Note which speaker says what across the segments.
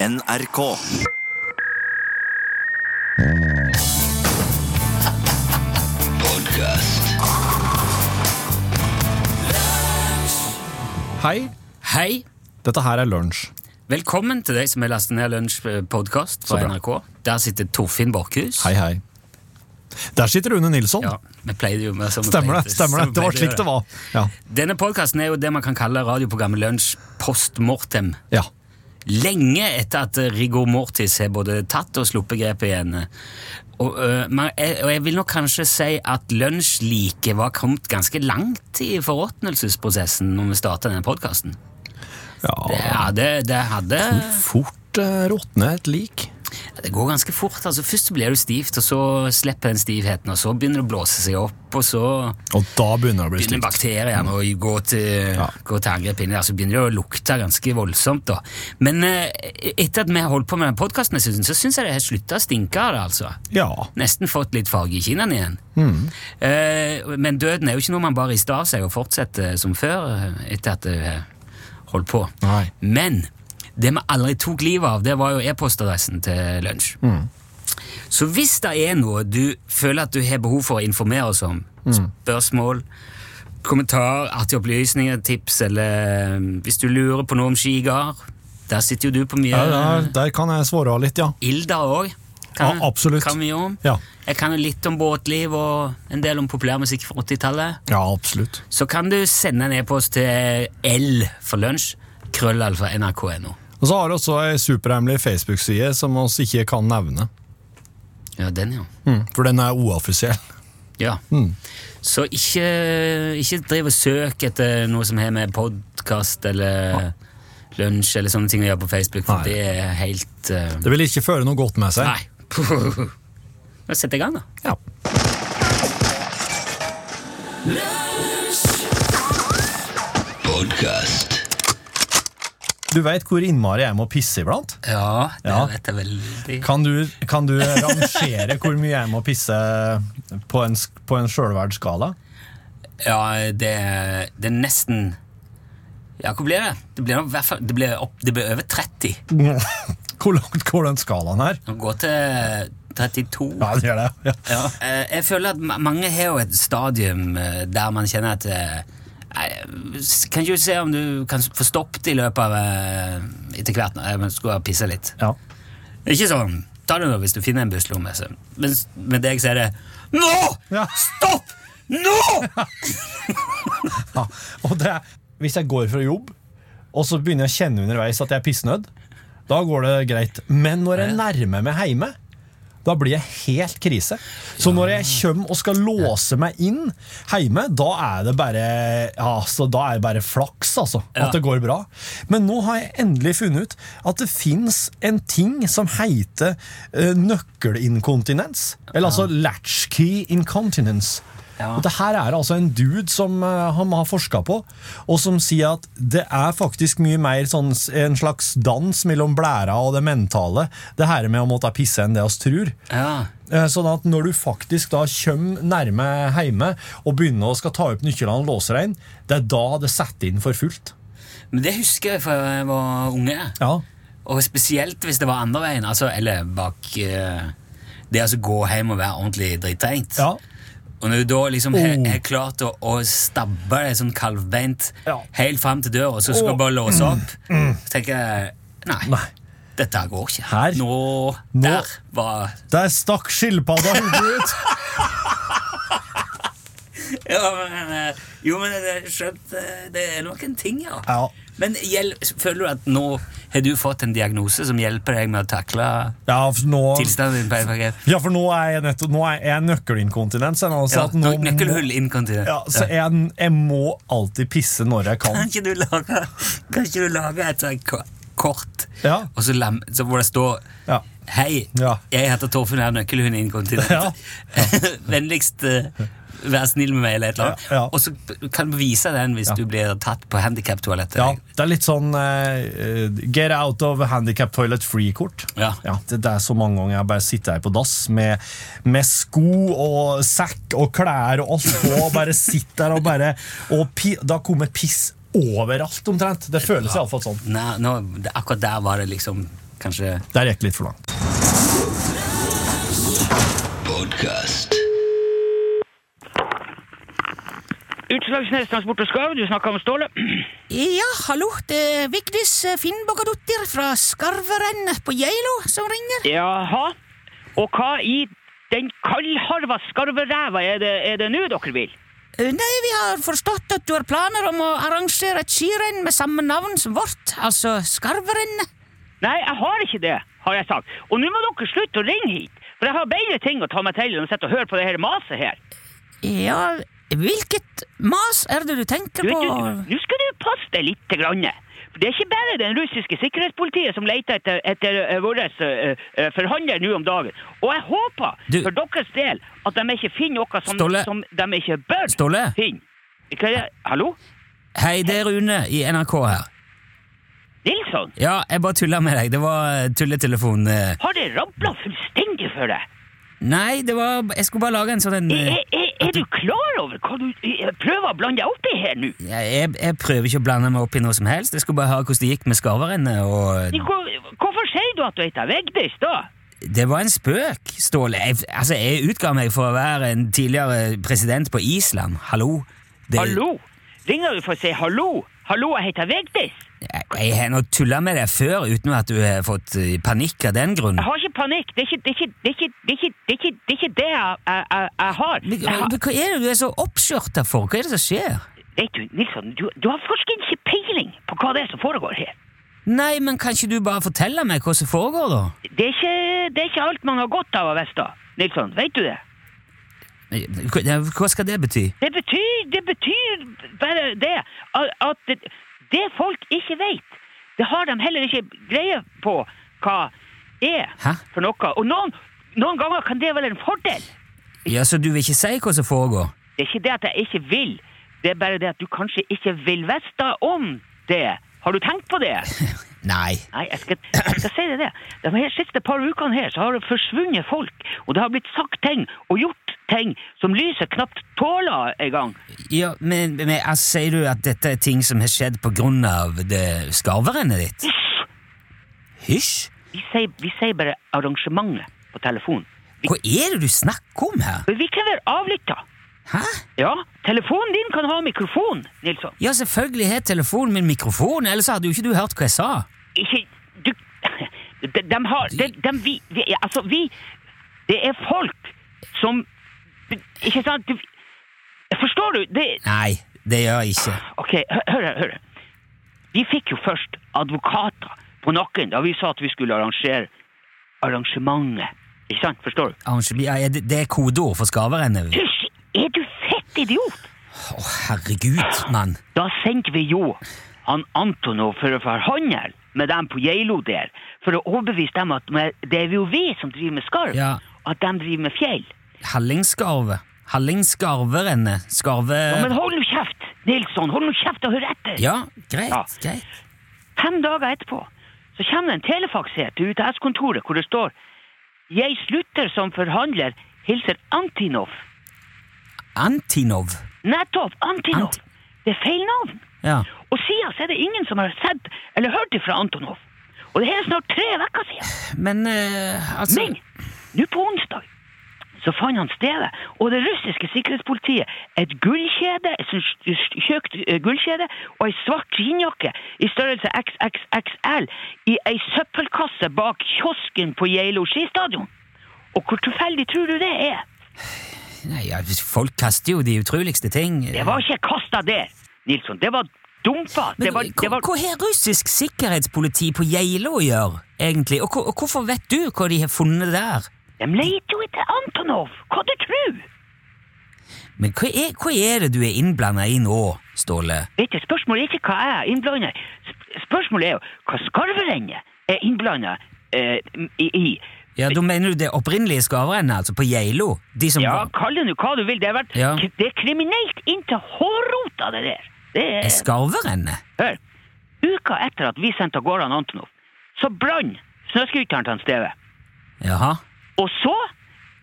Speaker 1: NRK.
Speaker 2: Hei,
Speaker 3: Hei.
Speaker 2: dette her er lunsj.
Speaker 3: Velkommen til deg som har lastet ned Lunsjpodkast
Speaker 2: Så
Speaker 3: fra
Speaker 2: bra.
Speaker 3: NRK. Der sitter Torfinn Borchhus.
Speaker 2: Hei, hei. Der sitter Rune Nilsson.
Speaker 3: Ja, vi pleide jo med som vi
Speaker 2: Stemmer
Speaker 3: pleide-
Speaker 2: det. stemmer
Speaker 3: som
Speaker 2: Det
Speaker 3: vi
Speaker 2: Det var
Speaker 3: pleide
Speaker 2: slik
Speaker 3: å
Speaker 2: det var. Ja.
Speaker 3: gjøre. Denne podkasten er jo det man kan kalle radioprogrammet Lunsj post mortem.
Speaker 2: ja.
Speaker 3: Lenge etter at eh, Rigor Mortis har både tatt og sluppet grepet igjen. Og, eh, man, jeg, og jeg vil nok kanskje si at lunsjliket var kommet ganske langt i forråtnelsesprosessen når vi starta denne podkasten. Det,
Speaker 2: ja.
Speaker 3: hadde- det hadde
Speaker 2: Fort uh, råtne et lik.
Speaker 3: Det går ganske fort. altså Først så blir du stivt, og så slipper den stivheten, og så begynner det å blåse seg opp, og så
Speaker 2: Og da begynner det å bli
Speaker 3: begynner
Speaker 2: slikt.
Speaker 3: bakteriene å gå til,
Speaker 2: Ja.
Speaker 3: gå til angrep inni der. Så begynner det å lukte ganske voldsomt. da. Men eh, etter at vi har holdt på med den podkasten, så syns jeg det har slutta å stinke av det. altså.
Speaker 2: Ja.
Speaker 3: Nesten fått litt farge i kinnene igjen.
Speaker 2: Mm.
Speaker 3: Eh, men døden er jo ikke noe man bare rister av seg og fortsetter som før eh, etter at det eh, holdt på.
Speaker 2: Nei.
Speaker 3: Men det vi aldri tok livet av, det var jo e-postadressen til lunsj.
Speaker 2: Mm.
Speaker 3: Så hvis det er noe du føler at du har behov for å informere oss om,
Speaker 2: Mm.
Speaker 3: spørsmål, kommentar, artige opplysninger, tips, eller um, hvis du lurer på noe om skigard, der sitter jo du på mye
Speaker 2: Ja, der, der kan jeg svare av litt, ja.
Speaker 3: ilder òg.
Speaker 2: Ja, absolutt.
Speaker 3: Kan vi om.
Speaker 2: Ja,
Speaker 3: Jeg kan jo litt om båtliv og en del om populærmusikk fra 80-tallet.
Speaker 2: ja absolutt.
Speaker 3: Så kan du sende en e-post til L for lunsj, krøllalfa nrk.no.
Speaker 2: Og så har vi også ei superhemmelig Facebook-side som vi ikke kan nevne.
Speaker 3: Ja, den, ja.
Speaker 2: For den er uoffisiell.
Speaker 3: Ja. Så ikke, ikke driv og søk etter noe som har med podkast eller lunsj eller sånne ting å gjøre på Facebook,
Speaker 2: Nei.
Speaker 3: for det er helt eh,
Speaker 2: Det vil ikke føre noe godt med seg.
Speaker 3: Nei. Nå setter jeg i gang, da.
Speaker 2: Ja. Du veit hvor innmari jeg må pisse iblant?
Speaker 3: Ja, det
Speaker 2: Ja.
Speaker 3: vet jeg veldig.
Speaker 2: Kan du, kan du rangere hvor mye jeg må pisse på en, sk- på en sjølverd skala?
Speaker 3: Ja, det, det er nesten Ja, hvor blir det? Det blir, nok i hvert fall- det blir, opp, det blir over 30.
Speaker 2: Hvor langt går den skalaen her?
Speaker 3: Nå går til 32.
Speaker 2: Ja, det gjør det. Ja.
Speaker 3: Ja. Eh, Jeg føler at ma- mange har jo et stadium eh, der man kjenner at eh, nei, s- Kan ikke du se om du kan s- få stoppet i løpet av eh, Etter hvert nå, jeg skulle pisse litt.
Speaker 2: Ja.
Speaker 3: Ikke sånn Ta det nå hvis du finner en busslomme. så- Men s- med deg så er det Nå!
Speaker 2: Ja.
Speaker 3: Stopp! Nå!
Speaker 2: Ja. Og det, er- hvis jeg går fra jobb, og så begynner jeg å kjenne underveis at jeg er pissnødd, da går det greit. Men når jeg nærmer meg hjemme, da blir jeg helt krise. Så når jeg kommer og skal låse meg inn hjemme, da er det bare, ja, altså, da er det bare flaks altså,
Speaker 3: Ja.
Speaker 2: at det går bra. Men nå har jeg endelig funnet ut at det fins en ting som heter eh, nøkkelinkontinens. Eller altså latchkey incontinence.
Speaker 3: Ja.
Speaker 2: Og det her er altså en dude som eh, han har forska på, og som sier at det er faktisk mye mer sånn, s- en slags dans mellom blæra og det mentale, det her med å måtte pisse enn det oss tror.
Speaker 3: Ja.
Speaker 2: Eh, Sånn at når du faktisk da kommer nærme hjemme og begynner å skal ta opp nøklene og låse deg inn, det er da det setter inn for fullt.
Speaker 3: Men det husker jeg fra jeg var unge.
Speaker 2: Ja.
Speaker 3: Og spesielt hvis det var andre veien, altså, eller bak eh, det altså gå hjem og være ordentlig drittengt.
Speaker 2: Ja.
Speaker 3: Og når du da liksom har
Speaker 2: Oh.
Speaker 3: har klart å, å stabbe deg sånn kalvbeint
Speaker 2: Ja.
Speaker 3: helt fram til døra, og så skal
Speaker 2: Oh.
Speaker 3: du bare låse opp, så tenker jeg nei,
Speaker 2: Nei.
Speaker 3: dette går ikke.
Speaker 2: Her?
Speaker 3: Nå,
Speaker 2: Nå.
Speaker 3: Der var
Speaker 2: Der stakk skilpadda hodet ut!
Speaker 3: ja, men, eh, Jo, men det er skjønt eh, Det er nok en ting, ja.
Speaker 2: Ja.
Speaker 3: Men gjel, føler du at nå har du fått en diagnose som hjelper deg med å takle
Speaker 2: Ja, for nå,
Speaker 3: tilstanden din? på en måte?
Speaker 2: ja, for nå er jeg, nettopp, nå er jeg nøkkelinkontinens. Altså
Speaker 3: Ja,
Speaker 2: at nå må-
Speaker 3: nøkkelhull inkontinent.
Speaker 2: Ja, så jeg, jeg må alltid pisse når jeg kan.
Speaker 3: Kan ikke du lage, kan ikke du lage et sånt ko- kort,
Speaker 2: Ja.
Speaker 3: og så, lam, så hvor det står
Speaker 2: Ja.
Speaker 3: Hei,
Speaker 2: Ja.
Speaker 3: jeg heter Torfinn her, nøkkelhund inkontinent.
Speaker 2: Ja.
Speaker 3: Vennligst eh, vær snill med meg, eller et eller annet.
Speaker 2: Ja, ja.
Speaker 3: Og så b- kan du vise den hvis du blir tatt på handikaptoalettet.
Speaker 2: Ja, det er litt sånn eh, eh, Get out of handicap toilet free-kort.
Speaker 3: Ja.
Speaker 2: det, det er så mange ganger jeg bare sitter her på dass med, med sko og sekk og klær og alt på, og bare sitter der og bare og pi, Da kommer piss overalt, omtrent. Det føles iallfall sånn.
Speaker 3: Nei, nå, det, akkurat der var det liksom Kanskje
Speaker 2: Der gikk det litt for langt.
Speaker 1: Podcast.
Speaker 4: Utslagsnes Transport og Skarv, du snakker med Ståle.
Speaker 5: Ja, hallo. Det er Vigdis Finnbogadottir fra Skarveren på Geilo som ringer.
Speaker 4: Jaha. Og hva i den kaldharva skarveræva er det, er det nå dere vil?
Speaker 5: Eh, Nei, vi har forstått at du har planer om å arrangere et skirenn med samme navn som vårt, altså Skarverennet.
Speaker 4: Nei, jeg har ikke det, har jeg sagt. Og nå må dere slutte å ringe hit. For jeg har bedre ting å ta meg til enn å sitte og høre på det her maset her.
Speaker 5: Ja, hvilket mas er det du
Speaker 4: Du
Speaker 5: tenker
Speaker 4: vet
Speaker 5: på?
Speaker 4: jo, Nå skal du passe deg litt. Grann. For det er ikke bare den russiske sikkerhetspolitiet som leter etter, etter eh, vår eh, eh, forhandler nå om dagen. Og jeg håper
Speaker 3: Du-
Speaker 4: for deres del at de ikke finner noe som,
Speaker 3: Ståle.
Speaker 4: som de ikke bør
Speaker 3: Ståle.
Speaker 4: finne. Hva er det? Hallo?
Speaker 3: Hei, det er Rune i NRK her.
Speaker 4: Nilsson?
Speaker 3: Ja, jeg bare tulla med deg. Det var eh, tulletelefon. eh.
Speaker 4: Har det rabla fullstendig for deg?
Speaker 3: Nei, det var Jeg skulle bare lage en sånn en,
Speaker 4: Er,
Speaker 3: eh,
Speaker 4: er, er, er du klar over hva du eh, prøver å blande deg opp i her nå?
Speaker 3: jeg, jeg- jeg prøver ikke å blande meg opp i noe som helst. Jeg skulle bare høre hvordan det gikk med skarverennet. Og
Speaker 4: Hvor- Hvorfor sier du at du heter Vegdis, da?
Speaker 3: det var en spøk, Ståle. Jeg, altså, jeg utga meg for å være en tidligere president på Island. Hallo. Det-
Speaker 4: Hallo? Ringer du for å si hallo? Hallo, jeg heter Vegdis.
Speaker 3: Jeg, jeg har nå tulla med deg før uten at du har fått eh, panikk av den grunn.
Speaker 4: Jeg har ikke panikk. Det er ikke det, er ikke, det, er ikke, det, er ikke, det, er ikke, det, er ikke det jeg, jeg, jeg, jeg har.
Speaker 3: Men,
Speaker 4: Jeg har.
Speaker 3: men hva er det du er så oppskjørta for? Hva er det som skjer?
Speaker 4: Vet du, Nilsson, du, du har forskelig ikke peiling på hva det er som foregår her.
Speaker 3: Nei, men kan ikke du bare fortelle meg hva som foregår, da?
Speaker 4: Det er ikke, det er ikke alt man har godt av å vite, Nilsson. Vet du det?
Speaker 3: Hva, ja, hva skal det bety?
Speaker 4: Det betyr, det betyr bare det at at det, det folk ikke vet, det har de heller ikke greie på hva er
Speaker 3: Hæ?
Speaker 4: for noe. Og noen, noen ganger kan det være en fordel.
Speaker 3: Ja, Så du vil ikke si hva som foregår?
Speaker 4: Det er ikke det at jeg ikke vil, det er bare det at du kanskje ikke vil vite om det. Har du tenkt på det?
Speaker 3: Nei.
Speaker 4: Nei, jeg skal, jeg skal si deg det. De her siste par ukene her så har det forsvunnet folk, og det har blitt sagt ting og gjort ting som lyset knapt tåler en gang.
Speaker 3: Ja, men, men altså, Sier du at dette er ting som har skjedd på grunn av det skarverennet ditt? Hysj!
Speaker 4: Vi sier, vi sier bare arrangementet på telefon.
Speaker 3: Hva er det du snakker om her?
Speaker 4: For vi kan være avlytta.
Speaker 3: Hæ?
Speaker 4: Ja, telefonen din kan ha mikrofon, Nilsson.
Speaker 3: Ja, selvfølgelig har telefonen min mikrofon, ellers hadde jo ikke du hørt hva jeg sa.
Speaker 4: Ikke Du De, de har de, de, vi, vi Altså, vi Det er folk som Ikke sant? Du, forstår du? Det,
Speaker 3: Nei, det gjør jeg ikke.
Speaker 4: Ok, hø- hør her, hør her. Vi fikk jo først advokater på nakken da vi sa at vi skulle arrangere arrangementet. Ikke sant? Forstår du?
Speaker 3: Arrange- ja, ja, Det det er kodeord for skarverennet.
Speaker 4: Hysj! Er du fett idiot?
Speaker 3: Å, herregud, mann.
Speaker 4: Da sendte vi jo han Antonov for å forhandle med dem på Geilo der, for å overbevise dem at med- det er jo vi som driver med skarv,
Speaker 3: Ja.
Speaker 4: og at de driver med fjell.
Speaker 3: Hallingskarve. Hallingskarverenne. Skarve...
Speaker 4: Ja, men hold nå kjeft, Nilsson! Hold nå kjeft og hør etter!
Speaker 3: Eh. Ja, greit,
Speaker 4: Ja.
Speaker 3: greit.
Speaker 4: Fem dager etterpå så kommer det en telefax her til UTS-kontoret hvor det står Jeg slutter som forhandler, hilser Antinov.
Speaker 3: Antinov.
Speaker 4: Nettopp! Antinov!
Speaker 3: Ant-
Speaker 4: det er feil navn.
Speaker 3: Ja.
Speaker 4: Og siden så er det ingen som har sett eller hørt ifra Antonov. Og det her er snart tre uker siden.
Speaker 3: Men eh, altså
Speaker 4: Men nå på onsdag så fant han stedet, og det russiske sikkerhetspolitiet et gullkjede, et sånt st- st- tjøkt eh, gullkjede og ei svart skinnjakke i størrelse XXXL i ei søppelkasse bak kiosken på Geilo skistadion. Og hvor tilfeldig tror du det er?
Speaker 3: Nei, ja, Folk kaster jo de utroligste ting.
Speaker 4: Det var ikke kasta der, Nilsson. Det var dumpa.
Speaker 3: Men
Speaker 4: Det var, det var
Speaker 3: hva- Hva har russisk sikkerhetspoliti på Geilo å gjøre, egentlig? Og, hva- og hvorfor vet du hva de har funnet der?
Speaker 4: De leter jo etter Antonov! Hva du tror?
Speaker 3: Men hva er, hva er det du er innblanda i nå, Ståle?
Speaker 4: Vet du, spørsmålet er ikke hva jeg er innblanda i. Sp- Spørsmålet er jo hva skarverennet er innblanda eh, i. i.
Speaker 3: Ja, Da mener du det opprinnelige skarverennet, altså, på Geilo? De som
Speaker 4: Ja,
Speaker 3: var
Speaker 4: kall det nå hva du vil. Det, har vært,
Speaker 3: Ja.
Speaker 4: k- det er kriminelt inntil hårrota, det der. Det
Speaker 3: Er
Speaker 4: er,
Speaker 3: Skarverennet?
Speaker 4: hør, uka etter at vi sendte av gårde han Antonov, så brann snøscooteren til han Steve.
Speaker 3: Jaha.
Speaker 4: Og så,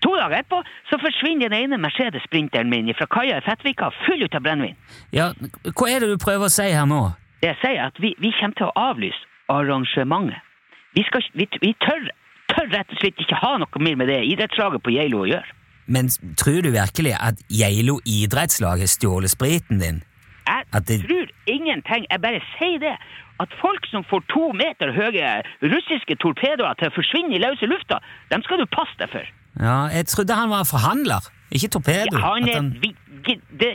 Speaker 4: to dager etterpå, så forsvinner den ene Mercedes-sprinteren min fra kaia i Fettvika, full ut av brennevin.
Speaker 3: Ja, hva er det du prøver å si her nå?
Speaker 4: Det jeg sier, er at vi, vi kommer til å avlyse arrangementet. Vi, skal, ikke- vi, vi tør, tør rett og slett ikke ha noe mer med det idrettslaget på Geilo å gjøre.
Speaker 3: Men tror du virkelig at Geilo idrettslag har stjålet spriten din?
Speaker 4: Jeg
Speaker 3: At det-
Speaker 4: tror ingenting. Jeg bare sier det. At folk som får to meter høye russiske torpedoer til å forsvinne i løse lufta, dem skal du passe deg for.
Speaker 3: Ja, jeg trodde han var forhandler, ikke torpedo.
Speaker 4: Ja, han
Speaker 3: At
Speaker 4: er, vi, gi- det,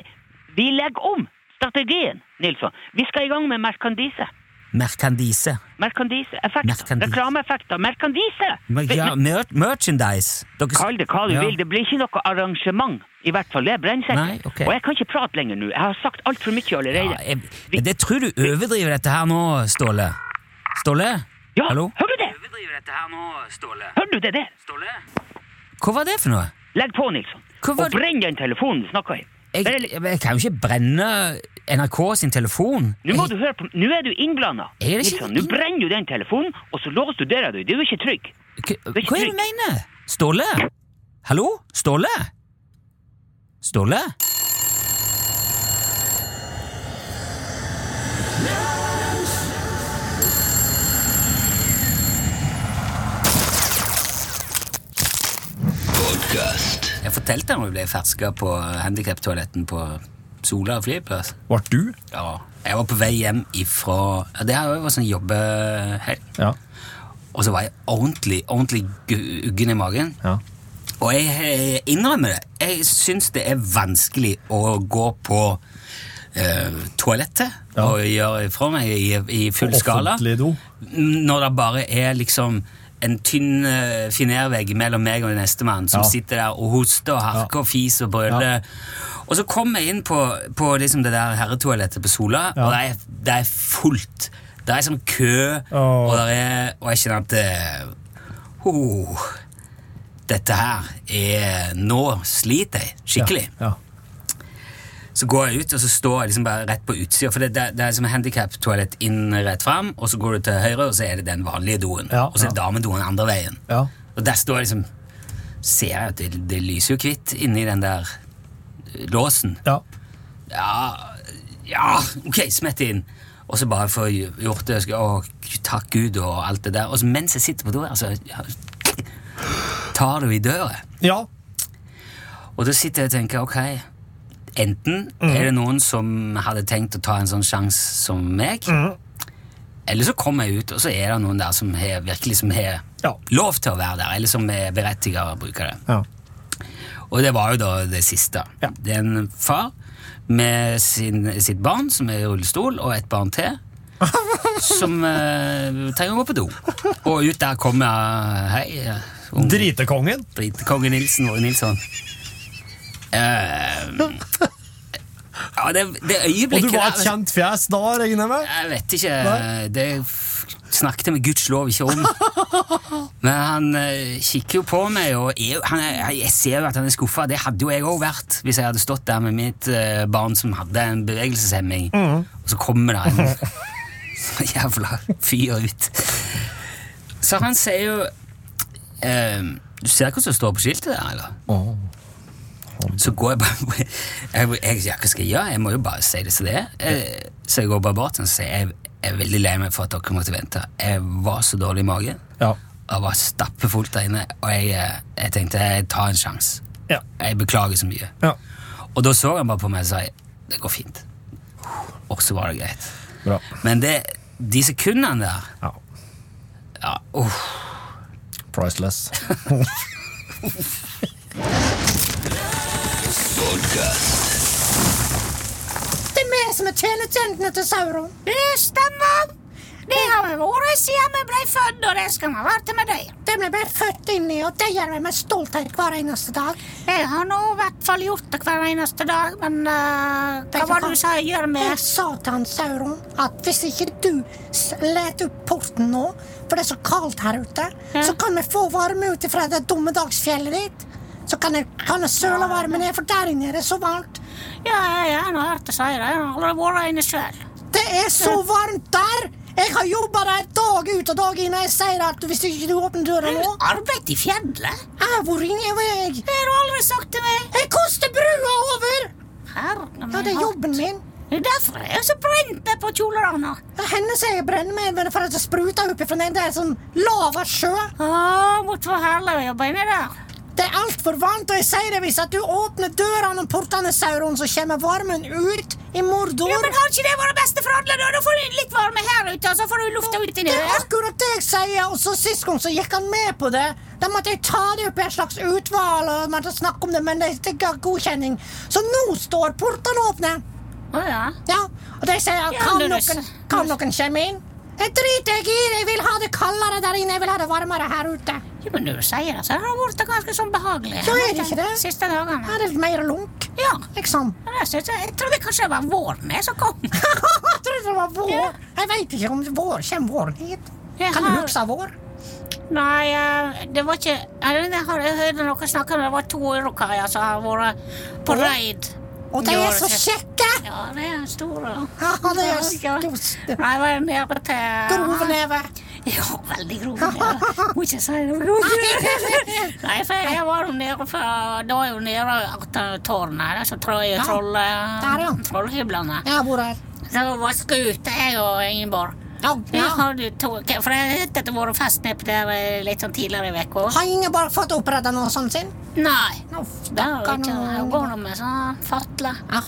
Speaker 4: vi legger om strategien, Nilsson. Vi skal i gang med merkandise.
Speaker 3: Merkandise.
Speaker 4: Merkandiseeffekter.
Speaker 3: Merkandise.
Speaker 4: Reklameeffekter. Merkandise!
Speaker 3: Men Ja, mer merchandise. Dere,
Speaker 4: Kall det hva du
Speaker 3: Ja.
Speaker 4: vil. Det blir ikke noe arrangement. I hvert fall. Det er
Speaker 3: Nei,
Speaker 4: brennsikkert.
Speaker 3: ok.
Speaker 4: Og jeg kan ikke prate lenger nå. Jeg har sagt altfor mye
Speaker 3: Ja,
Speaker 4: allerede.
Speaker 3: jeg, men det tror du overdriver dette her nå, Ståle. Ståle?
Speaker 4: Ja,
Speaker 3: Hallo?
Speaker 4: hører du det?
Speaker 3: Overdriver dette her nå, Ståle.
Speaker 4: Hører du det der?
Speaker 3: Ståle? Hva var det for noe?
Speaker 4: Legg på, Nilsson.
Speaker 3: Hva var
Speaker 4: Og
Speaker 3: det-
Speaker 4: brenn den telefonen du snakker i.
Speaker 3: Jeg,
Speaker 4: Bare-
Speaker 3: jeg, jeg kan jo ikke brenne NRK sin telefon.
Speaker 4: Nå må
Speaker 3: Jeg-
Speaker 4: du høre på Nå er du innblanda.
Speaker 3: Er det ikke-
Speaker 4: Nilsson, Nå brenner du den telefonen, og så låser du døra di. Du er ikke trygg.
Speaker 3: Hva,
Speaker 4: Det er ikke
Speaker 3: hva er det du
Speaker 4: trygt.
Speaker 3: mener? Ståle? Hallo? Ståle? Ståle?
Speaker 1: Podcast.
Speaker 3: Jeg fortalte om jeg ble ferska på handikaptoaletten på Sola flyplass.
Speaker 2: Vart du?
Speaker 3: Ja. Jeg var på vei hjem ifra ja, Det her var sånn jobbehelg.
Speaker 2: Ja.
Speaker 3: Og så var jeg ordentlig, ordentlig gu- uggen i magen.
Speaker 2: ja.
Speaker 3: Og jeg eh, innrømmer det. Jeg syns det er vanskelig å gå på eh, toalettet
Speaker 2: Ja.
Speaker 3: og gjøre ifra meg i, i full skala.
Speaker 2: Offentlig do.
Speaker 3: Når det bare er liksom en tynn eh, finervegg mellom meg og nestemann som
Speaker 2: Ja.
Speaker 3: sitter der og hoster og harker og fiser og brøler. Og så kom jeg inn på, på liksom det der herretoalettet på Sola, og det er, det er fullt. Det er sånn kø,
Speaker 2: Åh.
Speaker 3: og, det er, og jeg kjenner at eh, oh, Dette her er Nå sliter jeg skikkelig.
Speaker 2: Ja.
Speaker 3: Så går jeg ut, og så står jeg liksom bare rett på utsida. For det, det, det er som handikaptoalett inn rett fram, og så går du til høyre, og så er det den vanlige doen.
Speaker 2: Ja,
Speaker 3: og så er damedoen andre veien.
Speaker 2: Ja.
Speaker 3: Og der står jeg liksom Ser jeg at det, det lyser jo hvitt inni den der eh, låsen.
Speaker 2: Ja.
Speaker 3: Ja, ja ok, smett inn. Og så bare få gjort det. og skal- Å, gud, takk Gud, og alt det der. Og så mens jeg sitter på do, altså, ja, tar du i døra.
Speaker 2: ja.
Speaker 3: Og da sitter jeg og tenker, ok, enten
Speaker 2: Mm.
Speaker 3: er det noen som hadde tenkt å ta en sånn sjanse som meg,
Speaker 2: Mm.
Speaker 3: eller så kommer jeg ut, og så er det noen der som har, virkelig som har
Speaker 2: Ja.
Speaker 3: lov til å være der, eller som er berettiget å bruke det.
Speaker 2: ja.
Speaker 3: Og det var jo da det siste.
Speaker 2: Ja.
Speaker 3: Det er en far med sin, sitt barn, som er i rullestol, og et barn til, som eh, trenger å gå på do. Og ut der kommer, hei, eh, unge
Speaker 2: Dritekongen.
Speaker 3: Dritekonge Nilsen og Nilsson. Eh, ja, det, det
Speaker 2: Og du
Speaker 3: øyeblikket
Speaker 2: var
Speaker 3: der,
Speaker 2: et kjent fjes da, regner jeg med?
Speaker 3: Jeg vet ikke.
Speaker 2: Nei.
Speaker 3: Det f- snakket jeg med gudskjelov ikke om. Men han eh, kikker jo på meg, og er, jo- han, er- jeg ser jo at han er skuffa. Det hadde jo jeg òg vært hvis jeg hadde stått der med mitt eh, barn som hadde en bevegelseshemming,
Speaker 2: Mm.
Speaker 3: og så kommer det en så jævla fyr ut. Så han sier jo eh, Du ser hva som står på skiltet der, eller?
Speaker 2: Åh.
Speaker 3: Så går jeg bare Jeg, jeg, jeg, jeg, hva skal jeg, gjøre? jeg må jo bare si det som det er. Eh, Så jeg går bare bort og sier jeg, jeg er veldig lei meg for at dere måtte vente. Jeg var så dårlig i magen.
Speaker 2: Ja.
Speaker 3: Jeg var stappfullt der inne, og jeg, eh, jeg tenkte jeg tar en sjanse.
Speaker 2: Ja.
Speaker 3: Jeg beklager så mye.
Speaker 2: ja.
Speaker 3: Og da så han bare på meg og sa det går fint. Og så var det greit.
Speaker 2: Bra.
Speaker 3: Men det, de sekundene der
Speaker 2: Ja.
Speaker 3: ja, uff.
Speaker 2: Priceless.
Speaker 1: Podcast.
Speaker 6: Det er vi som er tjenestjentene til Sauron. Det stemmer. Det har vi vært siden vi ble født, og det skal vi være med deg. Det vi ble født inn i, og det gjør vi med stolthet hver eneste dag. Jeg har nå i hvert fall gjort det hver eneste dag, men eh, hva var det du sa jeg gjør med? Jeg sa til han Sauron at hvis ikke du s- let opp porten nå, for det er så kaldt her ute, så kan vi få varme ut fra det dommedagsfjellet ditt. Så kan jeg, kan jeg søle varme ned, for der inne er det så varmt.
Speaker 7: Ja, ja, ja, nå hørte jeg si det. Jeg har aldri vært inne sjøl.
Speaker 6: Det er så varmt der! Jeg har jobba der dag ut og dag inn, og jeg sier at hvis ikke du åpner døra nå
Speaker 7: Arbeid i fjellet?
Speaker 6: Jeg har vært inne, jeg.
Speaker 7: Det har du aldri sagt til meg.
Speaker 6: Jeg koster brua over!
Speaker 7: Herre min
Speaker 6: Ja, det er
Speaker 7: hatt.
Speaker 6: jobben min.
Speaker 7: Det er derfor jeg er så brent på kjolene.
Speaker 6: Ja, hennes jeg brenner med men for at det spruter oppifra den. Det er sånn lava sjø.
Speaker 7: Å, måtte være herlig å jobbe inni der.
Speaker 6: Det er altfor varmt, og jeg sier det hvis at du åpner dørene og portene, Sauron, så kommer varmen ut i Mordor.
Speaker 7: Ja, men har ikke det vært beste for alle, da? Da får du litt varme her ute, og så får du lufta ut inni
Speaker 6: Det er
Speaker 7: der.
Speaker 6: akkurat det jeg sier, og så sist gang så gikk han med på det. Da måtte jeg ta det opp i et slags utvalg og måtte snakke om det, men det det ga godkjenning. Så nå står portene åpne.
Speaker 7: Å ja.
Speaker 6: Ja, og de sier
Speaker 7: Ja,
Speaker 6: kan,
Speaker 7: men det-
Speaker 6: noen, kan noen komme inn? Jeg driter jeg i det, jeg vil ha det kaldere der inne, jeg vil ha det varmere her ute.
Speaker 7: Jo, men når du sier det, så har det vært ganske sånn behagelig.
Speaker 6: Så er det ikke det.
Speaker 7: Siste dagene.
Speaker 6: Her er det mer lunk,
Speaker 7: Ja.
Speaker 6: liksom.
Speaker 7: Men jeg, synes, jeg trodde kanskje det var våren jeg som kom.
Speaker 6: jeg trodde det var vår. Jeg vet ikke om vår kommer vår hit.
Speaker 7: Jeg
Speaker 6: Kan du
Speaker 7: har-
Speaker 6: huske vår?
Speaker 7: Nei, eh, det var ikke Jeg, jeg, har- jeg hørte noen snakke om det var to urokaier som har vært på raid.
Speaker 6: Og de
Speaker 7: i
Speaker 6: er
Speaker 7: året
Speaker 6: så
Speaker 7: sitt.
Speaker 6: kjekke!
Speaker 7: Ja, det er store.
Speaker 6: Ja, det er
Speaker 7: Ja.
Speaker 6: sk-
Speaker 7: Nei, jeg var nede til
Speaker 6: Grove neve.
Speaker 7: Ja, veldig grove never. Må ikke si det. var grove. Nei, for jeg var jo nede på Da er jo nede etter tårnet. Det er så troll, troll,
Speaker 6: Der, ja.
Speaker 7: trollhyblene.
Speaker 6: Jeg har vært her.
Speaker 7: Så var skute jeg og Ingeborg.
Speaker 6: Ja,
Speaker 7: Ja.
Speaker 6: ja.
Speaker 7: Har du to, for jeg vet at det har vært fest nede der eh, litt sånn tidligere i uka.
Speaker 6: Har ingen bare fått oppretta noe sånt sin?
Speaker 7: Nei.
Speaker 6: Nå,
Speaker 7: Det er jo
Speaker 6: stakkar
Speaker 7: ikke
Speaker 6: nå.
Speaker 7: Hun går nå med sånn fatle.
Speaker 6: Ja.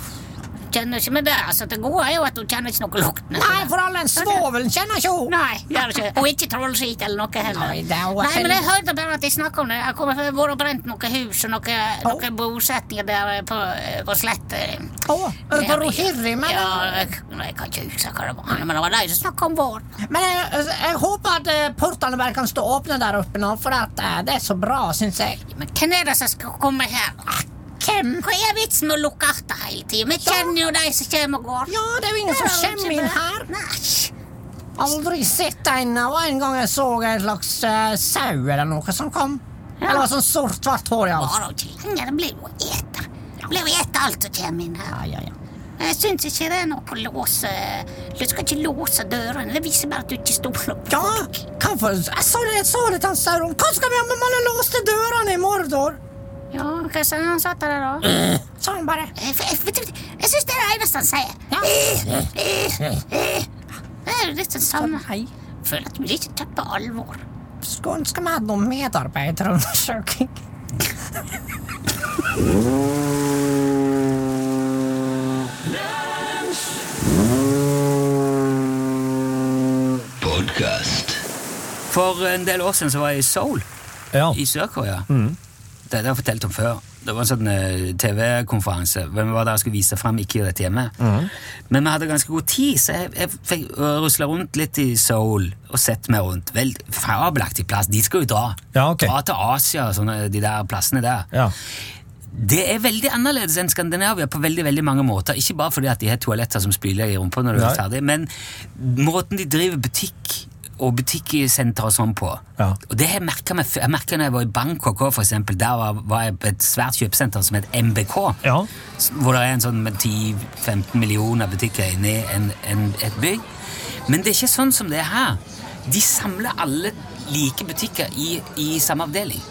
Speaker 7: Kjenner ikke med det. Altså, det gode er jo at hun kjenner ikke noe lukt.
Speaker 6: Nei, for all den svovelen kjenner ikke hun.
Speaker 7: Nei, gjør ikke det. Og ikke trollskit eller noe heller.
Speaker 6: Nei, det er jo
Speaker 7: Nei, men jeg hørte bare at de snakket om det. Jeg kommer fra det har vært brent noen hus og noen,
Speaker 6: Å.
Speaker 7: noen bosetninger der eh, på, på slettet.
Speaker 6: Å, Over og hirri, men
Speaker 7: Ja, jeg, jeg kan ikke huske hva det var, men det var de som snakket om vår.
Speaker 6: Men jeg, jeg håper at eh, portene bare kan stå åpne der oppe nå, for at, eh, det er så bra, syns jeg.
Speaker 7: Men hvem er det som skal komme her? Ah, Hvem? Hva er vitsen med å lukke etter hele tiden? Vi kjenner jo de som kommer og går.
Speaker 6: Ja, det er jo ingen som kommer inn her.
Speaker 7: Nei.
Speaker 6: Aldri sett en, og en gang jeg så en slags eh, sau eller noe som kom. Eller var sånn sort-svart hår, ja.
Speaker 7: Bare å klinge, det blir jo å ete. Det blir jo å ete alt som kommer inn her.
Speaker 6: ja, ja, ja.
Speaker 7: Jeg Eh, syns ikke det er noe å låse Du skal ikke låse dørene. Det viser bare at du ikke stoler på
Speaker 6: Ja, hva for Jeg sa det, jeg sa det til han Sauron. Hva skal vi gjøre med mannen låste dørene i Mordor?
Speaker 7: Ja, hva sa han satt der da?
Speaker 6: Eh. Sa han bare.
Speaker 7: Jeg, jeg, Eh, vet du, jeg syns det er det eneste han sier. Eh, Det er jo litt det
Speaker 6: Sånn,
Speaker 7: samme.
Speaker 6: Hei.
Speaker 7: Føler at du blir ikke tatt på alvor.
Speaker 6: Skulle ønske vi hadde noen medarbeiderundersøking.
Speaker 1: Podcast.
Speaker 3: For en del år siden så var jeg i Seoul,
Speaker 2: Ja.
Speaker 3: i Sør-Korea.
Speaker 2: Mm.
Speaker 3: Det har jeg fortalt om før. Det var en sånn eh, TV-konferanse. Hvem var der jeg skulle vise frem ikke dette hjemme?
Speaker 2: Mm.
Speaker 3: Men vi hadde ganske god tid, så jeg, jeg fikk rusla rundt litt i Seoul og sett meg rundt. Vel, fabelaktig plass. De skal jo dra.
Speaker 2: Ja, ok.
Speaker 3: Dra til Asia og sånne, de der plassene der.
Speaker 2: Ja.
Speaker 3: Det er veldig annerledes enn Skandinavia på veldig veldig mange måter. Ikke bare fordi at de har toaletter som spyler deg i rumpa når du
Speaker 2: Nei.
Speaker 3: er ferdig, men måten de driver butikk og butikksenter og sånn på.
Speaker 2: Ja.
Speaker 3: Og det har Jeg merket meg f- jeg merket når jeg var i Bangkok òg, f.eks. Der var, var jeg på et svært kjøpesenter som het MBK.
Speaker 2: Ja.
Speaker 3: s- Hvor det er en sånn med 10-15 millioner butikker inni en, en, et bygg. Men det er ikke sånn som det er her. De samler alle like butikker i, i samme avdeling.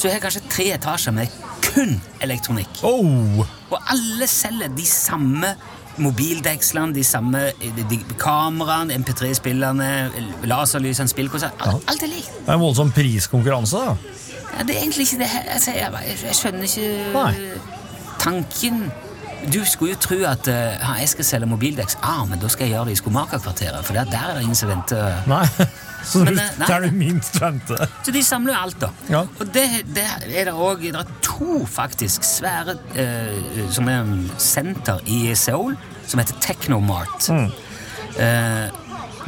Speaker 3: Så jeg har kanskje tre etasjer med kun elektronikk.
Speaker 2: Oh.
Speaker 3: Og alle selger de samme mobildekslene, de samme eh, de, de, kameraene, MP3-spillerne, laserlysene, spillkonserter. Alt, alt er likt.
Speaker 2: Det er en voldsom priskonkurranse, da.
Speaker 3: Ja, det er egentlig ikke det her. Altså, jeg, jeg, jeg skjønner ikke
Speaker 2: Nei.
Speaker 3: tanken. Du skulle jo tro at eh, ja, jeg skal selge mobildeks. Ah, men da skal jeg gjøre det i Skomakerkvarteret, for der der er det ingen som venter.
Speaker 2: Nei. Så
Speaker 3: Men,
Speaker 2: du,
Speaker 3: eh, nei.
Speaker 2: der du minst venter.
Speaker 3: Så de samler jo alt, da.
Speaker 2: Ja.
Speaker 3: Og det, det er det òg Det er to faktisk svære eh, som er en senter i Seoul, som heter Technomart. Eh,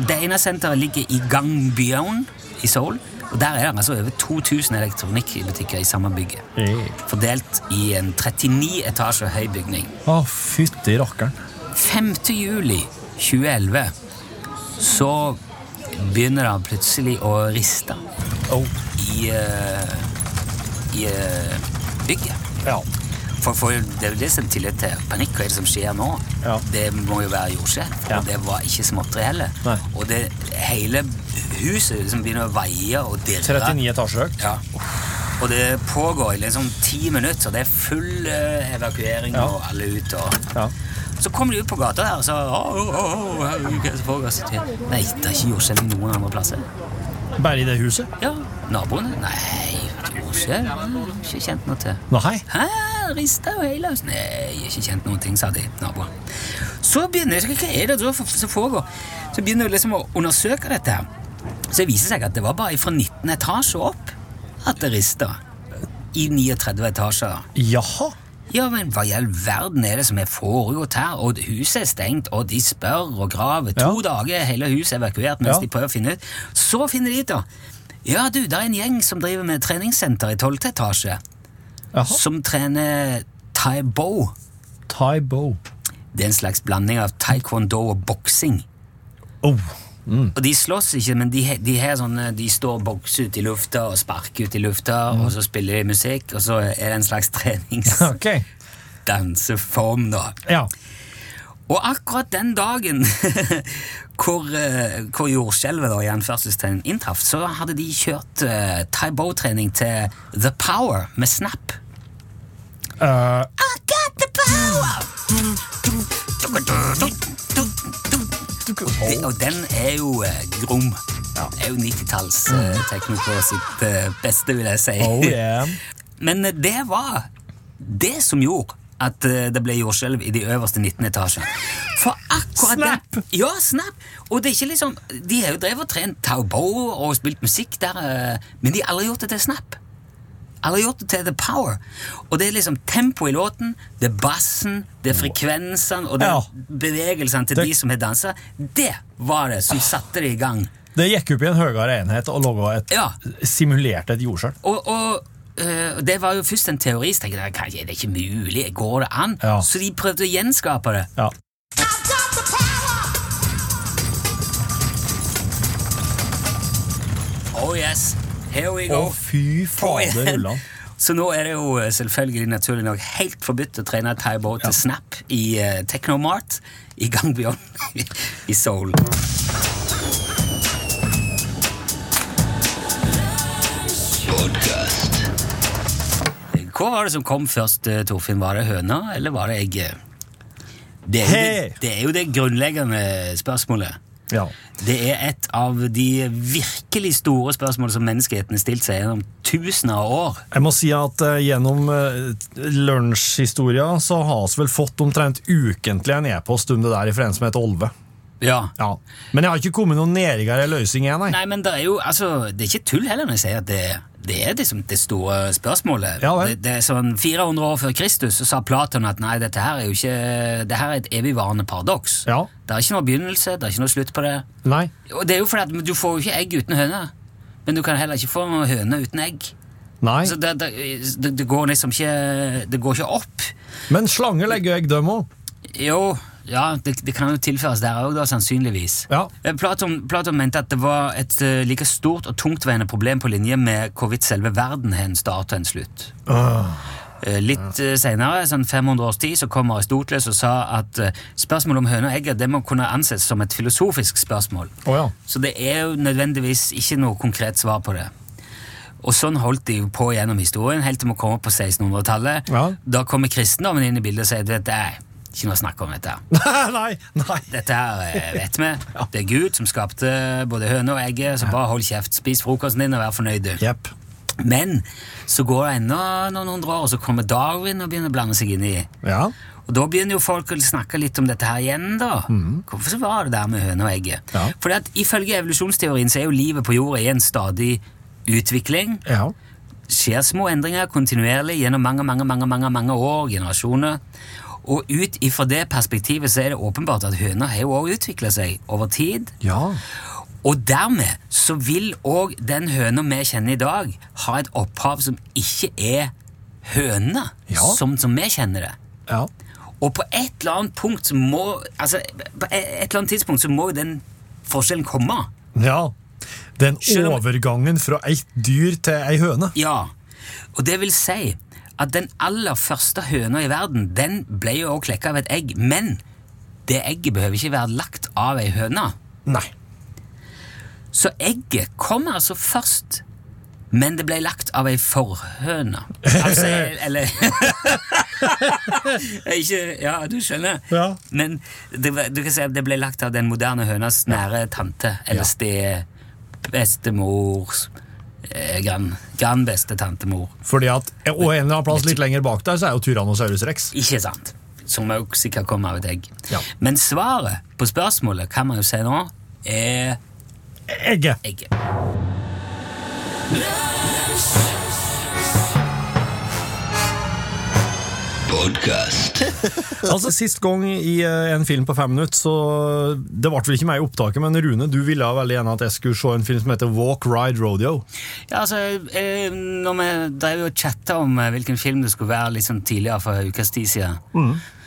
Speaker 3: det ene senteret ligger i Gangbyeon i Seoul. Og der er det altså over 2000 elektronikkbutikker i samme bygget. Fordelt i en 39 etasjer høy bygning.
Speaker 2: Å, fytti rakkeren.
Speaker 3: 5. juli 2011 så begynner det plutselig å riste
Speaker 2: Oh.
Speaker 3: i, eh, i eh, bygget.
Speaker 2: Ja.
Speaker 3: For, for det er jo det som tillegg til panikk. Hva er det som skjer nå?
Speaker 2: Ja.
Speaker 3: Det må jo være jordskjelv.
Speaker 2: Ja.
Speaker 3: Og det var ikke småtteri heller.
Speaker 2: Nei.
Speaker 3: Og det hele huset liksom begynner å veie og dirre.
Speaker 2: 39 etasjer høyt.
Speaker 3: Ja. Og det pågår i liksom ti minutter, så det er full eh, evakuering
Speaker 2: Ja.
Speaker 3: og alle ut. Og...
Speaker 2: Ja.
Speaker 3: Så kom de ut på gata der og sa «Å, å, å, å, hva er det som foregår?» Så tenkte jeg, Nei, det har ikke gjort seg noen andre plasser.
Speaker 2: Bare i det huset?
Speaker 3: Ja, naboene? Nei, det gjorde ikke det. Mm, Ikke kjent noe til.
Speaker 2: Nei.
Speaker 3: Hæ, rista og heila oss? Nei, ikke kjent noen ting, sa de naboene. Så begynner jeg, hva er det da for- som foregår? Så begynner jeg liksom å undersøke dette her. Så viser det seg at det var bare fra 19 etasje opp at det rista. I 39 etasjer.
Speaker 2: Jaha.
Speaker 3: Ja, men hva i all verden er det som er foregått her? Og huset er stengt, og de spør og graver. To
Speaker 2: Ja.
Speaker 3: dager er hele huset evakuert mens
Speaker 2: Ja.
Speaker 3: de prøver å finne ut. Så finner de ut, da. Ja, du, det er en gjeng som driver med treningssenter i 12. etasje,
Speaker 2: Jaha.
Speaker 3: som trener taibo.
Speaker 2: Thai bow.
Speaker 3: Det er en slags blanding av taekwondo og boksing.
Speaker 2: Oh.
Speaker 3: Og de slåss ikke, men de, he- de, har sånne, de står og bokser ut i lufta og sparker ut i lufta, og så spiller de musikk, og så er det en slags
Speaker 2: Mm. Ok.
Speaker 3: treningsdanseform, da.
Speaker 2: Ja.
Speaker 3: Og akkurat den dagen hvor, eh, hvor jordskjelvet da, i anførselstegn inntraff, så hadde de kjørt eh, taibo-trening til The Power med Snap.
Speaker 2: Eh,
Speaker 7: I got the power!
Speaker 3: Det, og den er jo eh, grom. Det er jo 90-tallstekno på sitt eh, beste, vil jeg si.
Speaker 2: oh yeah.
Speaker 3: Men eh, det var det som gjorde at eh, det ble jordskjelv i de øverste 19 etasjene. For akkurat Den, ja, snap! Og det er ikke liksom, de har jo drevet og trent taubo og spilt musikk der, eh, men de har aldri gjort det til snap. Aldri gjort det til The Power. Og det er liksom tempo i låten, det er bassen, det er frekvensene og det er bevegelsene til
Speaker 2: Det-
Speaker 3: de som har dansa. Det var det som satte det i gang.
Speaker 2: Det gikk opp i en høyere enhet og laga et
Speaker 3: Ja.
Speaker 2: simulerte et jordskjelv.
Speaker 3: Og, og øh, det var jo først en teori, så tenkte jeg "Hva, er det ikke mulig, går det an?
Speaker 2: Ja.
Speaker 3: Så de prøvde å gjenskape det.
Speaker 2: Ja.
Speaker 3: Oh yes, here we
Speaker 2: Å,
Speaker 3: go.
Speaker 2: fy
Speaker 3: På
Speaker 2: fader,
Speaker 3: igjen.
Speaker 2: Ulland.
Speaker 3: Så nå er det jo øh, selvfølgelig naturlig nok helt forbudt å trene taibo til snap i uh, Technomart i Gangbyon i Seoul.
Speaker 1: Podcast.
Speaker 3: Hva var det som kom først, eh, Torfinn? Var det høna, eller var det egget? Det er, jo det,
Speaker 2: Hei!
Speaker 3: det er jo det grunnleggende spørsmålet.
Speaker 2: Ja.
Speaker 3: Det er et av de virkelig store spørsmål som menneskeheten har stilt seg gjennom tusener av år.
Speaker 2: Jeg må si at eh, gjennom uh, lunsjhistoria så har vi vel fått omtrent ukentlig en e-post om det der fra en som heter Olve.
Speaker 3: Ja.
Speaker 2: Ja. Men jeg har ikke kommet noen nedrigere løsning igjen, nei.
Speaker 3: Nei, men det er jo altså, Det er ikke tull heller når jeg sier at det, det er liksom det store spørsmålet.
Speaker 2: Ja vel.
Speaker 3: det, det er sånn 400 år før Kristus så sa Platon at nei, dette her er jo ikke Det her er et evigvarende paradoks.
Speaker 2: Ja.
Speaker 3: Det er ikke noe begynnelse, det er ikke noe slutt på det.
Speaker 2: Nei.
Speaker 3: Og det er jo fordi at du får jo ikke egg uten høne. Men du kan heller ikke få noen høne uten egg.
Speaker 2: Nei.
Speaker 3: Så det, det, det, det går liksom ikke Det går ikke opp.
Speaker 2: Men slanger legger jeg dem òg.
Speaker 3: Jo, ja, det, det kan jo tilføres der òg, da, sannsynligvis.
Speaker 2: Ja.
Speaker 3: Eh, Platon, Platon mente at det var et eh, like stort og tungtveiende problem på linje med hvorvidt selve verden har en start og en slutt. Eh, Litt ja. seinere, sånn 500 års tid, så kom Aristoteles og sa at eh, spørsmålet om høne og egg det må kunne anses som et filosofisk spørsmål.
Speaker 2: Å ja.
Speaker 3: Så det er jo nødvendigvis ikke noe konkret svar på det. Og sånn holdt de jo på gjennom historien, helt til vi kommer på 1600-tallet.
Speaker 2: Ja.
Speaker 3: Da kommer kristendommen inn i bildet og sier at det er ikke noe snakk om dette.
Speaker 2: nei, nei.
Speaker 3: Dette her eh, vet vi. Det er Gud som skapte både høne og egget, så bare hold kjeft, spis frokosten din og vær fornøyd. du.
Speaker 2: Jepp.
Speaker 3: Men så går det ennå noen hundre år, og så kommer Darwin og begynner å blande seg inn i.
Speaker 2: Ja.
Speaker 3: Og da begynner jo folk å snakke litt om dette her igjen, da. Hvorfor så var det der med høne og egget?
Speaker 2: Ja.
Speaker 3: Fordi at ifølge evolusjonsteorien så er jo livet på jorda i en stadig utvikling.
Speaker 2: Ja.
Speaker 3: Skjer små endringer kontinuerlig gjennom mange, mange, mange, mange, mange år, generasjoner. Og ut ifra det perspektivet så er det åpenbart at høner har jo også utvikla seg over tid.
Speaker 2: Ja.
Speaker 3: Og dermed så vil òg den høna vi kjenner i dag, ha et opphav som ikke er høne,
Speaker 2: Ja.
Speaker 3: som, som vi kjenner det.
Speaker 2: Ja.
Speaker 3: Og på et eller annet punkt så må altså, På et eller annet tidspunkt så må jo den forskjellen komme.
Speaker 2: ja. Den
Speaker 3: Selv om-
Speaker 2: overgangen fra et dyr til ei høne.
Speaker 3: Ja. Og det vil si at den aller første høna i verden, den ble jo også klekka av et egg, men det egget behøver ikke være lagt av ei høne.
Speaker 2: Nei.
Speaker 3: Så egget kommer altså først men det ble lagt av ei forhøne. Altså, eller Ikke Ja, du skjønner.
Speaker 2: Ja.
Speaker 3: Men det, var- du kan si at det ble lagt av den moderne hønas nære tante, eller ste... Bestemors eh, Grand, grand bestetante-mor.
Speaker 2: Fordi at, Og en eller annen plass litt lenger bak der, så er jo Tyrannosaurus rex.
Speaker 3: Ikke sant? Som også sikkert kommer av et egg.
Speaker 2: Ja.
Speaker 3: Men svaret på spørsmålet kan man jo si nå er
Speaker 2: Egget.
Speaker 3: egget.
Speaker 1: Podcast.
Speaker 2: Altså, Sist gang i eh, en film på fem minutter, så Det ble vel ikke meg i opptaket, men Rune, du ville veldig gjerne at jeg skulle se en film som heter Walk Ride Rodeo.
Speaker 3: Ja, altså, eh, når vi drev og chatta om eh, hvilken film det skulle være litt sånn tidligere for en ukes tid siden,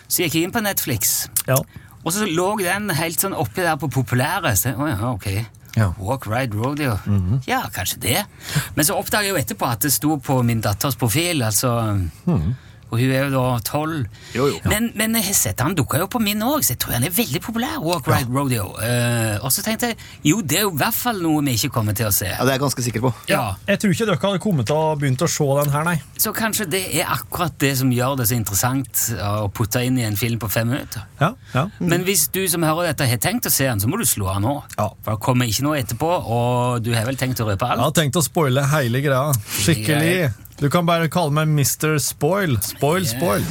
Speaker 3: så gikk jeg inn på Netflix,
Speaker 2: Ja.
Speaker 3: og så lå den helt sånn oppi der på populære. Så, jeg, å ja, ok.
Speaker 2: Ja.
Speaker 3: Walk, ride, rodeo. Ja, kanskje det. Men så oppdaga jeg jo etterpå at det sto på min datters profil, altså Og hun er jo da tolv. Men, men jeg har sett han dukka jo på min òg, så jeg tror han er veldig populær. Walk, ride, rodeo. Eh, og så tenkte jeg jo, det er jo i hvert fall noe vi ikke kommer til å se.
Speaker 8: Ja, det er jeg ganske sikker på.
Speaker 3: Ja.
Speaker 2: Jeg tror ikke dere hadde kommet til å begynt å se den her, nei.
Speaker 3: Så kanskje det er akkurat det som gjør det så interessant å putte inn i en film på fem minutter.
Speaker 2: Ja, ja.
Speaker 3: Men hvis du som hører dette har tenkt å se den, så må du slå den nå.
Speaker 2: Mm. Ja.
Speaker 3: For det kommer ikke noe etterpå, og du har vel tenkt å røpe
Speaker 2: Jeg har
Speaker 3: alt?
Speaker 2: tenkt å spoile hele greia. Skikkelig. Du kan bare kalle meg Mr. Spoil. Spoil, spoil.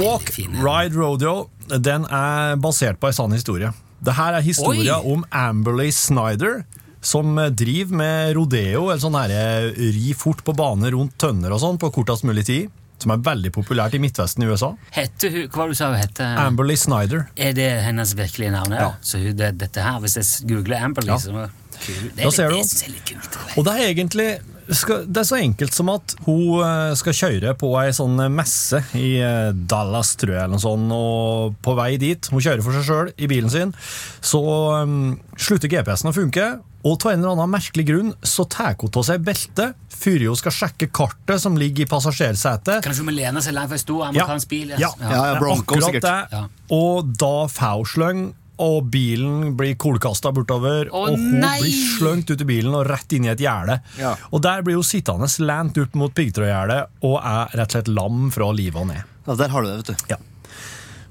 Speaker 2: Walk,
Speaker 3: fin, ja.
Speaker 2: Ride Rodeo den er basert på en sann historie. Det her er historien
Speaker 3: Oi!
Speaker 2: om Amberley Snyder, som eh, driver med rodeo, eller sånn her, eh, ri fort på bane rundt tønner og sånn på kortest mulig tid, som er veldig populært i Midtvesten i USA.
Speaker 3: Hette hun Hva var det du sa hun heter?
Speaker 2: Amberley Snyder.
Speaker 3: Er det hennes virkelige navn? Ja.
Speaker 2: Ja.
Speaker 3: Så hun, det, dette her, hvis jeg googler Amberley,
Speaker 2: Ja.
Speaker 3: så Kul. Det
Speaker 2: Da
Speaker 3: er
Speaker 2: ser du.
Speaker 3: litt, det er litt kult.
Speaker 2: Og det er egentlig skal, det er så enkelt som at hun eh, skal kjøre på ei sånn messe i eh, Dallas, tror jeg, eller noe sånt, og på vei dit, hun kjører for seg sjøl i bilen sin, så eh, slutter GPS-en å funke, og av en eller annen merkelig grunn så tar hun av seg beltet før hun skal sjekke kartet som ligger i passasjersetet.
Speaker 3: Kanskje hun må lene seg langt fra en stor amerikansk bil?
Speaker 2: Ja,
Speaker 8: Ja, ja, Bronco,
Speaker 2: akkurat
Speaker 8: sikkert.
Speaker 2: det.
Speaker 3: Ja.
Speaker 2: Og da får hun sløng, og bilen blir kolkasta bortover.
Speaker 3: Å,
Speaker 2: og hun
Speaker 3: nei!
Speaker 2: blir sløngt ut i bilen og rett inn i et gjerde.
Speaker 8: Ja.
Speaker 2: Og der blir hun sittende lent opp mot piggtrådgjerdet og er rett og slett lam fra livet og ned.
Speaker 8: Ja, Altså, der har du det, vet du.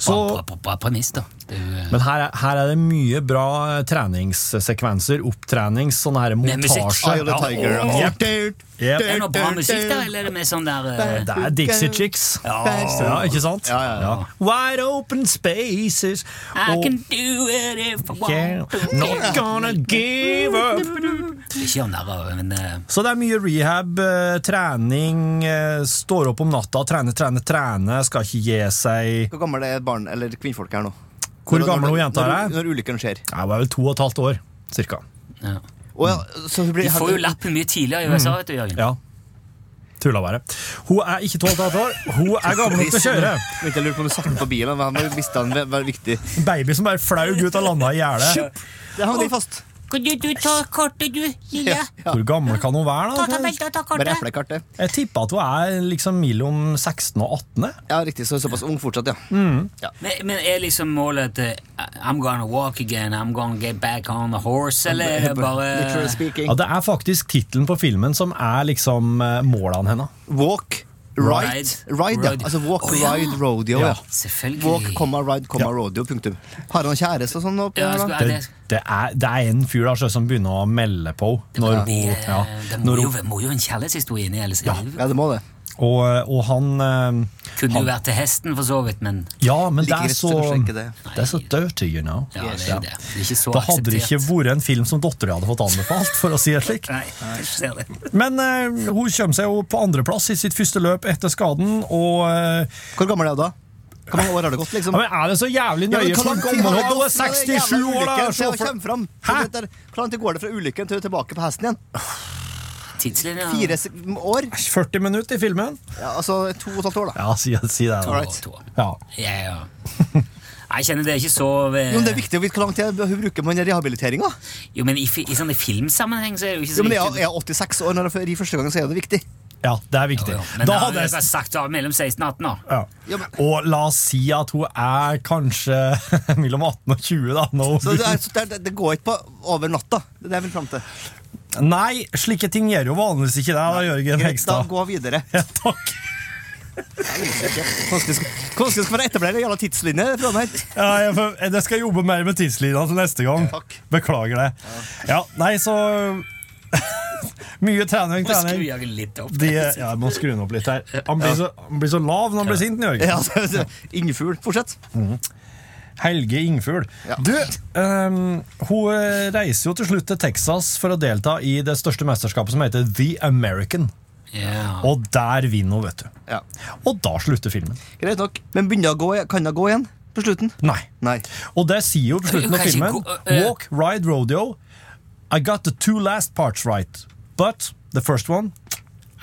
Speaker 2: Så,
Speaker 3: Bra, bra, bra premiss, da. Det er jo-
Speaker 2: men her er, her er det mye bra eh, treningssekvenser, opptrenings, sånne her
Speaker 3: Med musikk.
Speaker 2: montasjer.
Speaker 8: Eye of the Tiger. altså. Ja.
Speaker 2: Ja, jep, jep.
Speaker 3: er det noe bra musikk der, eller er det mer sånn der eh,
Speaker 2: Det er Dixie Chicks. Ja, ikke sant?
Speaker 8: Ja, ja, ja.
Speaker 2: Wide open spaces.
Speaker 3: I
Speaker 2: og-
Speaker 3: can do it if I
Speaker 2: Yeah,
Speaker 3: want to.
Speaker 2: not gonna give up.
Speaker 3: Ikke gjør narr av, men eh,
Speaker 2: Så det er mye rehab, eh, trening, eh, står opp om natta, trene, trene, trene, skal ikke gi seg.
Speaker 8: Hvor gammel er barn, eller kvinnfolk her nå?
Speaker 2: Hvor
Speaker 8: Når-
Speaker 2: gammel
Speaker 8: når-
Speaker 2: hun jenta
Speaker 8: når-
Speaker 2: er?
Speaker 8: Når ulykken skjer.
Speaker 2: Ja, Hun er vel to og et halvt år, cirka.
Speaker 3: ja.
Speaker 8: Å ja, så hun blir
Speaker 3: De får jo lappen mye tidligere i
Speaker 2: Mm.
Speaker 3: USA, vet du, Jørgen.
Speaker 2: Ja. Tulla bare. Hun er ikke to og et halvt år, hun er gammel nok til å kjøre.
Speaker 8: Vent, jeg lurer på om du satte den på bilen. Hva hva- visste han hva- hva er viktig?
Speaker 2: Baby som bare flaug ut og landa i gjerdet.
Speaker 8: Det hang den fast.
Speaker 7: Kan du, du ta kortet, du, lille?
Speaker 8: Ja.
Speaker 2: Hvor gammel kan hun
Speaker 7: Ta,
Speaker 2: være?
Speaker 7: ta
Speaker 2: da?
Speaker 7: beltet og ta
Speaker 8: Bare
Speaker 7: kortet.
Speaker 8: eplekartet.
Speaker 2: Jeg tipper at hun er liksom mellom 16 og 18. jeg.
Speaker 8: Ja, riktig. Så såpass ung fortsatt, ja.
Speaker 2: Mm.
Speaker 3: Men, men er liksom målet at eh, I'm gonna walk again, I'm gonna get back on the horse, eller er det
Speaker 8: Literally
Speaker 3: bare
Speaker 8: speaking.
Speaker 2: Ja, Det er faktisk tittelen på filmen som er liksom eh, målene hennes.
Speaker 8: Walk, ride,
Speaker 3: Ride,
Speaker 8: ride, ja.
Speaker 3: rodeo.
Speaker 8: Altså walk,
Speaker 3: Å, ja.
Speaker 8: ride, rodeo.
Speaker 2: Ja.
Speaker 8: Ja.
Speaker 3: Selvfølgelig.
Speaker 8: Walk, komma, ride, komma, rodeo, punktum. Har han kjæreste og sånn? nå på
Speaker 3: Ja, jeg
Speaker 8: her,
Speaker 3: skulle-
Speaker 8: da?
Speaker 3: er
Speaker 2: det,
Speaker 3: det-
Speaker 2: det, er, det er en fyr der sjø, som begynner å melde på henne når hun
Speaker 3: Eh,
Speaker 2: ja,
Speaker 3: Det må
Speaker 2: når
Speaker 3: jo,
Speaker 2: hun-
Speaker 3: må jo en kjærlighetshistorie inn i, ellers ja.
Speaker 8: Ja, det må det.
Speaker 2: og, og han eh,
Speaker 3: Kunne jo vært til hesten, for så vidt, men
Speaker 2: Ja, men det
Speaker 8: Like
Speaker 2: er
Speaker 8: rett
Speaker 2: så
Speaker 8: til å sjekke det.
Speaker 2: Det er så dirty, you know.
Speaker 3: ja, det er jo det. Det er ikke så
Speaker 2: Da hadde det ikke
Speaker 3: akseptert.
Speaker 2: vært en film som dattera hadde fått anbefalt, for å si det slik.
Speaker 3: Nei, jeg ser det.
Speaker 2: Men eh, hun kommer seg jo på andreplass i sitt første løp etter skaden, og eh,
Speaker 8: Hvor gammel er du da? Hvor mange år har det gått, liksom?
Speaker 2: ja, men Er det så jævlig nøye
Speaker 8: Ja, men
Speaker 2: hvor
Speaker 8: hvor lang tid
Speaker 2: gammel
Speaker 8: har
Speaker 2: hun
Speaker 8: det
Speaker 2: er? Hun
Speaker 8: gått
Speaker 2: er
Speaker 8: fra den
Speaker 2: 67
Speaker 8: jævla
Speaker 2: år! da,
Speaker 8: ulykken til
Speaker 2: så
Speaker 8: å
Speaker 2: for-
Speaker 8: komme fram?
Speaker 2: Hæ?
Speaker 8: Så det der- Hvor lang tid går det fra ulykken til du er tilbake på hesten igjen?
Speaker 3: Tidslinja
Speaker 8: Fire sek- år?
Speaker 2: 40 minutter i filmen?
Speaker 8: Ja, altså to og et halvt år, da.
Speaker 2: Ja, si, si det, da.
Speaker 8: Alright.
Speaker 3: to.
Speaker 2: Ja.
Speaker 3: Ja, ja. Nei, Jeg kjenner det er ikke så eh,
Speaker 8: Jo, men Det er viktig å vite hvor lang tid hun bruker man i rehabiliteringa.
Speaker 3: Jo, men i, fi- i sånne filmsammenheng så er det jo ikke
Speaker 8: Jo,
Speaker 3: så
Speaker 8: men jeg
Speaker 3: viktig.
Speaker 8: jeg er 86 år når jeg rir første gang, så er det viktig.
Speaker 2: Ja, det er viktig.
Speaker 3: Jo, jo. Men
Speaker 2: da
Speaker 3: da har
Speaker 2: hadde
Speaker 3: jeg
Speaker 2: jeg
Speaker 3: sagt du er mellom 16 og 18 år.
Speaker 2: ja.
Speaker 8: Ja, men-
Speaker 2: Og la oss si at hun er kanskje mellom 18 og 20, da. Nå.
Speaker 8: Så det, er, så det, er- det går ikke på over natta. Det er det jeg vil fram til.
Speaker 2: Nei, slike ting gjør jo vanligvis ikke det, da, Jørgen
Speaker 8: Greit, da
Speaker 2: Hegstad.
Speaker 8: gå videre.
Speaker 2: Ja, takk.
Speaker 8: Hvordan skal, hvordan skal man etablere en jævla tidslinje? fra den her?
Speaker 2: Ja, jeg, får- jeg skal jobbe mer med tidslinja til neste gang.
Speaker 8: Takk.
Speaker 2: Beklager det. Ja, nei, så Mye trening,
Speaker 3: Nå skrur
Speaker 2: trening.
Speaker 3: jeg litt opp.
Speaker 2: De, ja, jeg må skru den opp litt her. Han blir så, han blir så lav når han blir sint. den, Jørgen.
Speaker 8: Ja, altså, det- det- Ingefugl. Fortsett.
Speaker 2: Helge Ingfugl.
Speaker 8: Ja.
Speaker 2: Du, ehm, hun eh, reiser jo til slutt til Texas for å delta i det største mesterskapet som heter The American.
Speaker 3: Ja.
Speaker 2: Og der vinner hun, vet du.
Speaker 8: Ja.
Speaker 2: Og da slutter filmen.
Speaker 8: Greit nok. Men begynner å gå, i- kan hun gå igjen på slutten?
Speaker 2: Nei.
Speaker 8: Nei.
Speaker 2: Og det sier jo på slutten
Speaker 3: Hun
Speaker 2: av
Speaker 3: kan ikke
Speaker 2: filmen.
Speaker 3: gå- eh,
Speaker 2: Walk, ride, rodeo. I got the two last parts right. But the first one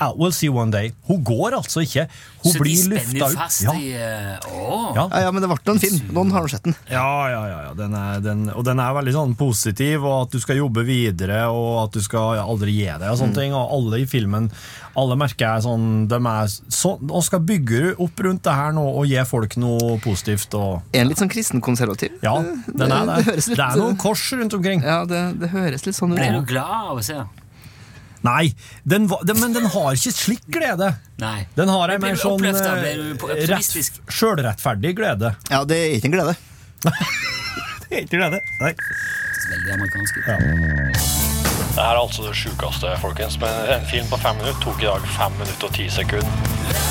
Speaker 2: ah, We'll see one day. Hun går altså ikke. Hun
Speaker 3: Så de
Speaker 2: blir
Speaker 3: spenner
Speaker 2: lufta
Speaker 3: jo
Speaker 2: ut.
Speaker 3: fast
Speaker 2: Ja.
Speaker 3: i eh, Å!
Speaker 2: Ja.
Speaker 8: Ja, ja, men det ble en film. Noen har nå sett den.
Speaker 2: Ja, ja, ja, ja. Den er, den, og den er veldig sånn positiv, og at du skal jobbe videre, og at du skal ja, aldri gi deg, og sånne ting. Og alle i filmen, alle merker jeg sånn, de er sånn, og skal bygge opp rundt det her nå, og gi folk noe positivt, og
Speaker 8: Er den litt sånn kristenkonservativ?
Speaker 2: ja, den
Speaker 8: det,
Speaker 2: er der.
Speaker 8: høres litt, eh,
Speaker 2: Det er noen kors rundt omkring.
Speaker 8: Ja, det, det høres litt sånn ut.
Speaker 3: Ble du glad av å se? den?
Speaker 2: Nei, den, var- den, men den har ikke slik glede.
Speaker 3: Nei.
Speaker 2: Den har ei
Speaker 3: Men ble
Speaker 2: mer
Speaker 3: du
Speaker 2: sånn
Speaker 3: oppløftet?
Speaker 2: eh,
Speaker 3: Ble du på-
Speaker 2: rett,
Speaker 3: optimistisk?
Speaker 2: sjølrettferdig glede.
Speaker 8: Ja, det er ikke en glede.
Speaker 2: Ikke glede, nei.
Speaker 3: Veldig amerikansk. ut.
Speaker 9: Det her er altså det sjukeste, folkens. Men en film på fem minutter tok i dag fem minutter og ti sekunder.